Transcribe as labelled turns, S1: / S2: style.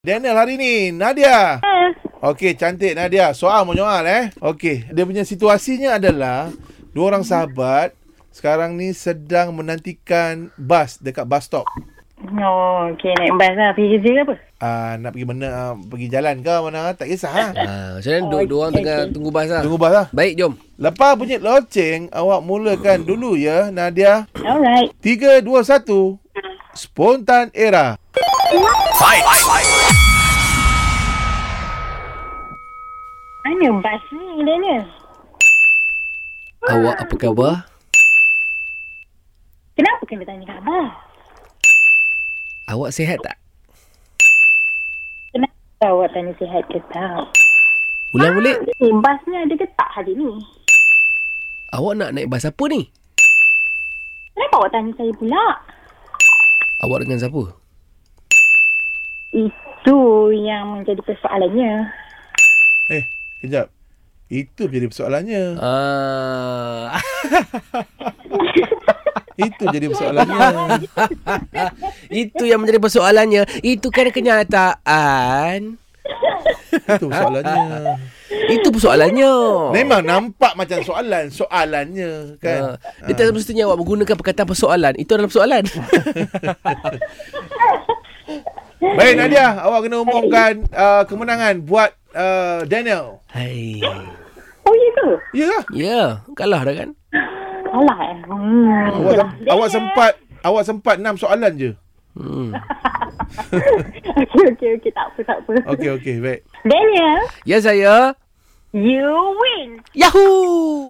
S1: Daniel hari ni, Nadia.
S2: Ah,
S1: Okey, cantik Nadia. Soal menyoal eh. Okey, dia punya situasinya adalah dua orang sahabat sekarang ni sedang menantikan bas dekat bus stop.
S2: Oh, okey naik bas lah. Pergi kerja ke apa?
S1: Ah, nak pergi mana ah, pergi jalan ke mana tak kisah ha.
S3: Ha, macam mana
S2: Oh,
S3: dua, dua orang
S2: okey,
S3: tengah
S2: okey.
S3: tunggu bas lah.
S1: Tunggu bas lah.
S3: Baik, jom.
S1: Lepas bunyi loceng, awak mulakan dulu ya Nadia.
S2: Alright.
S1: 3 2 1 Spontan era.
S2: Mana bas ni Daniel?
S3: Awak apa khabar?
S2: Kenapa kena tanya khabar?
S3: Awak sihat tak?
S2: Kenapa awak tanya sihat ke tak? Ah,
S3: Ulang balik.
S2: Ni bas ni ada ke tak hari ni?
S3: Awak nak naik bas apa ni?
S2: Kenapa awak tanya saya pula?
S3: Awak dengan siapa?
S2: Itu yang menjadi persoalannya.
S1: Eh, kejap. Itu jadi persoalannya.
S3: Ah,
S1: Itu jadi persoalannya.
S3: ah, itu yang menjadi persoalannya. Itu kan kenyataan.
S1: Itu persoalannya.
S3: Itu persoalannya.
S1: Memang nampak macam soalan Soalannya
S3: Ha,
S1: kan
S3: dia tak semestinya awak menggunakan perkataan persoalan. Itu adalah persoalan.
S1: Baik Nadia Awak kena umumkan uh, Kemenangan Buat uh, Daniel
S3: Hai.
S2: Oh, ya
S1: Ya
S2: ke?
S1: yeah.
S3: Ya, yeah, kalah dah kan?
S2: Alah eh. Hmm.
S1: awak, sem- awak sempat Awak sempat 6 soalan je
S3: Hmm.
S2: okey, okey, okey. Tak apa, tak apa.
S1: Okey okey baik
S2: Daniel,
S3: Ya, saya.
S2: you win.
S3: Yahoo!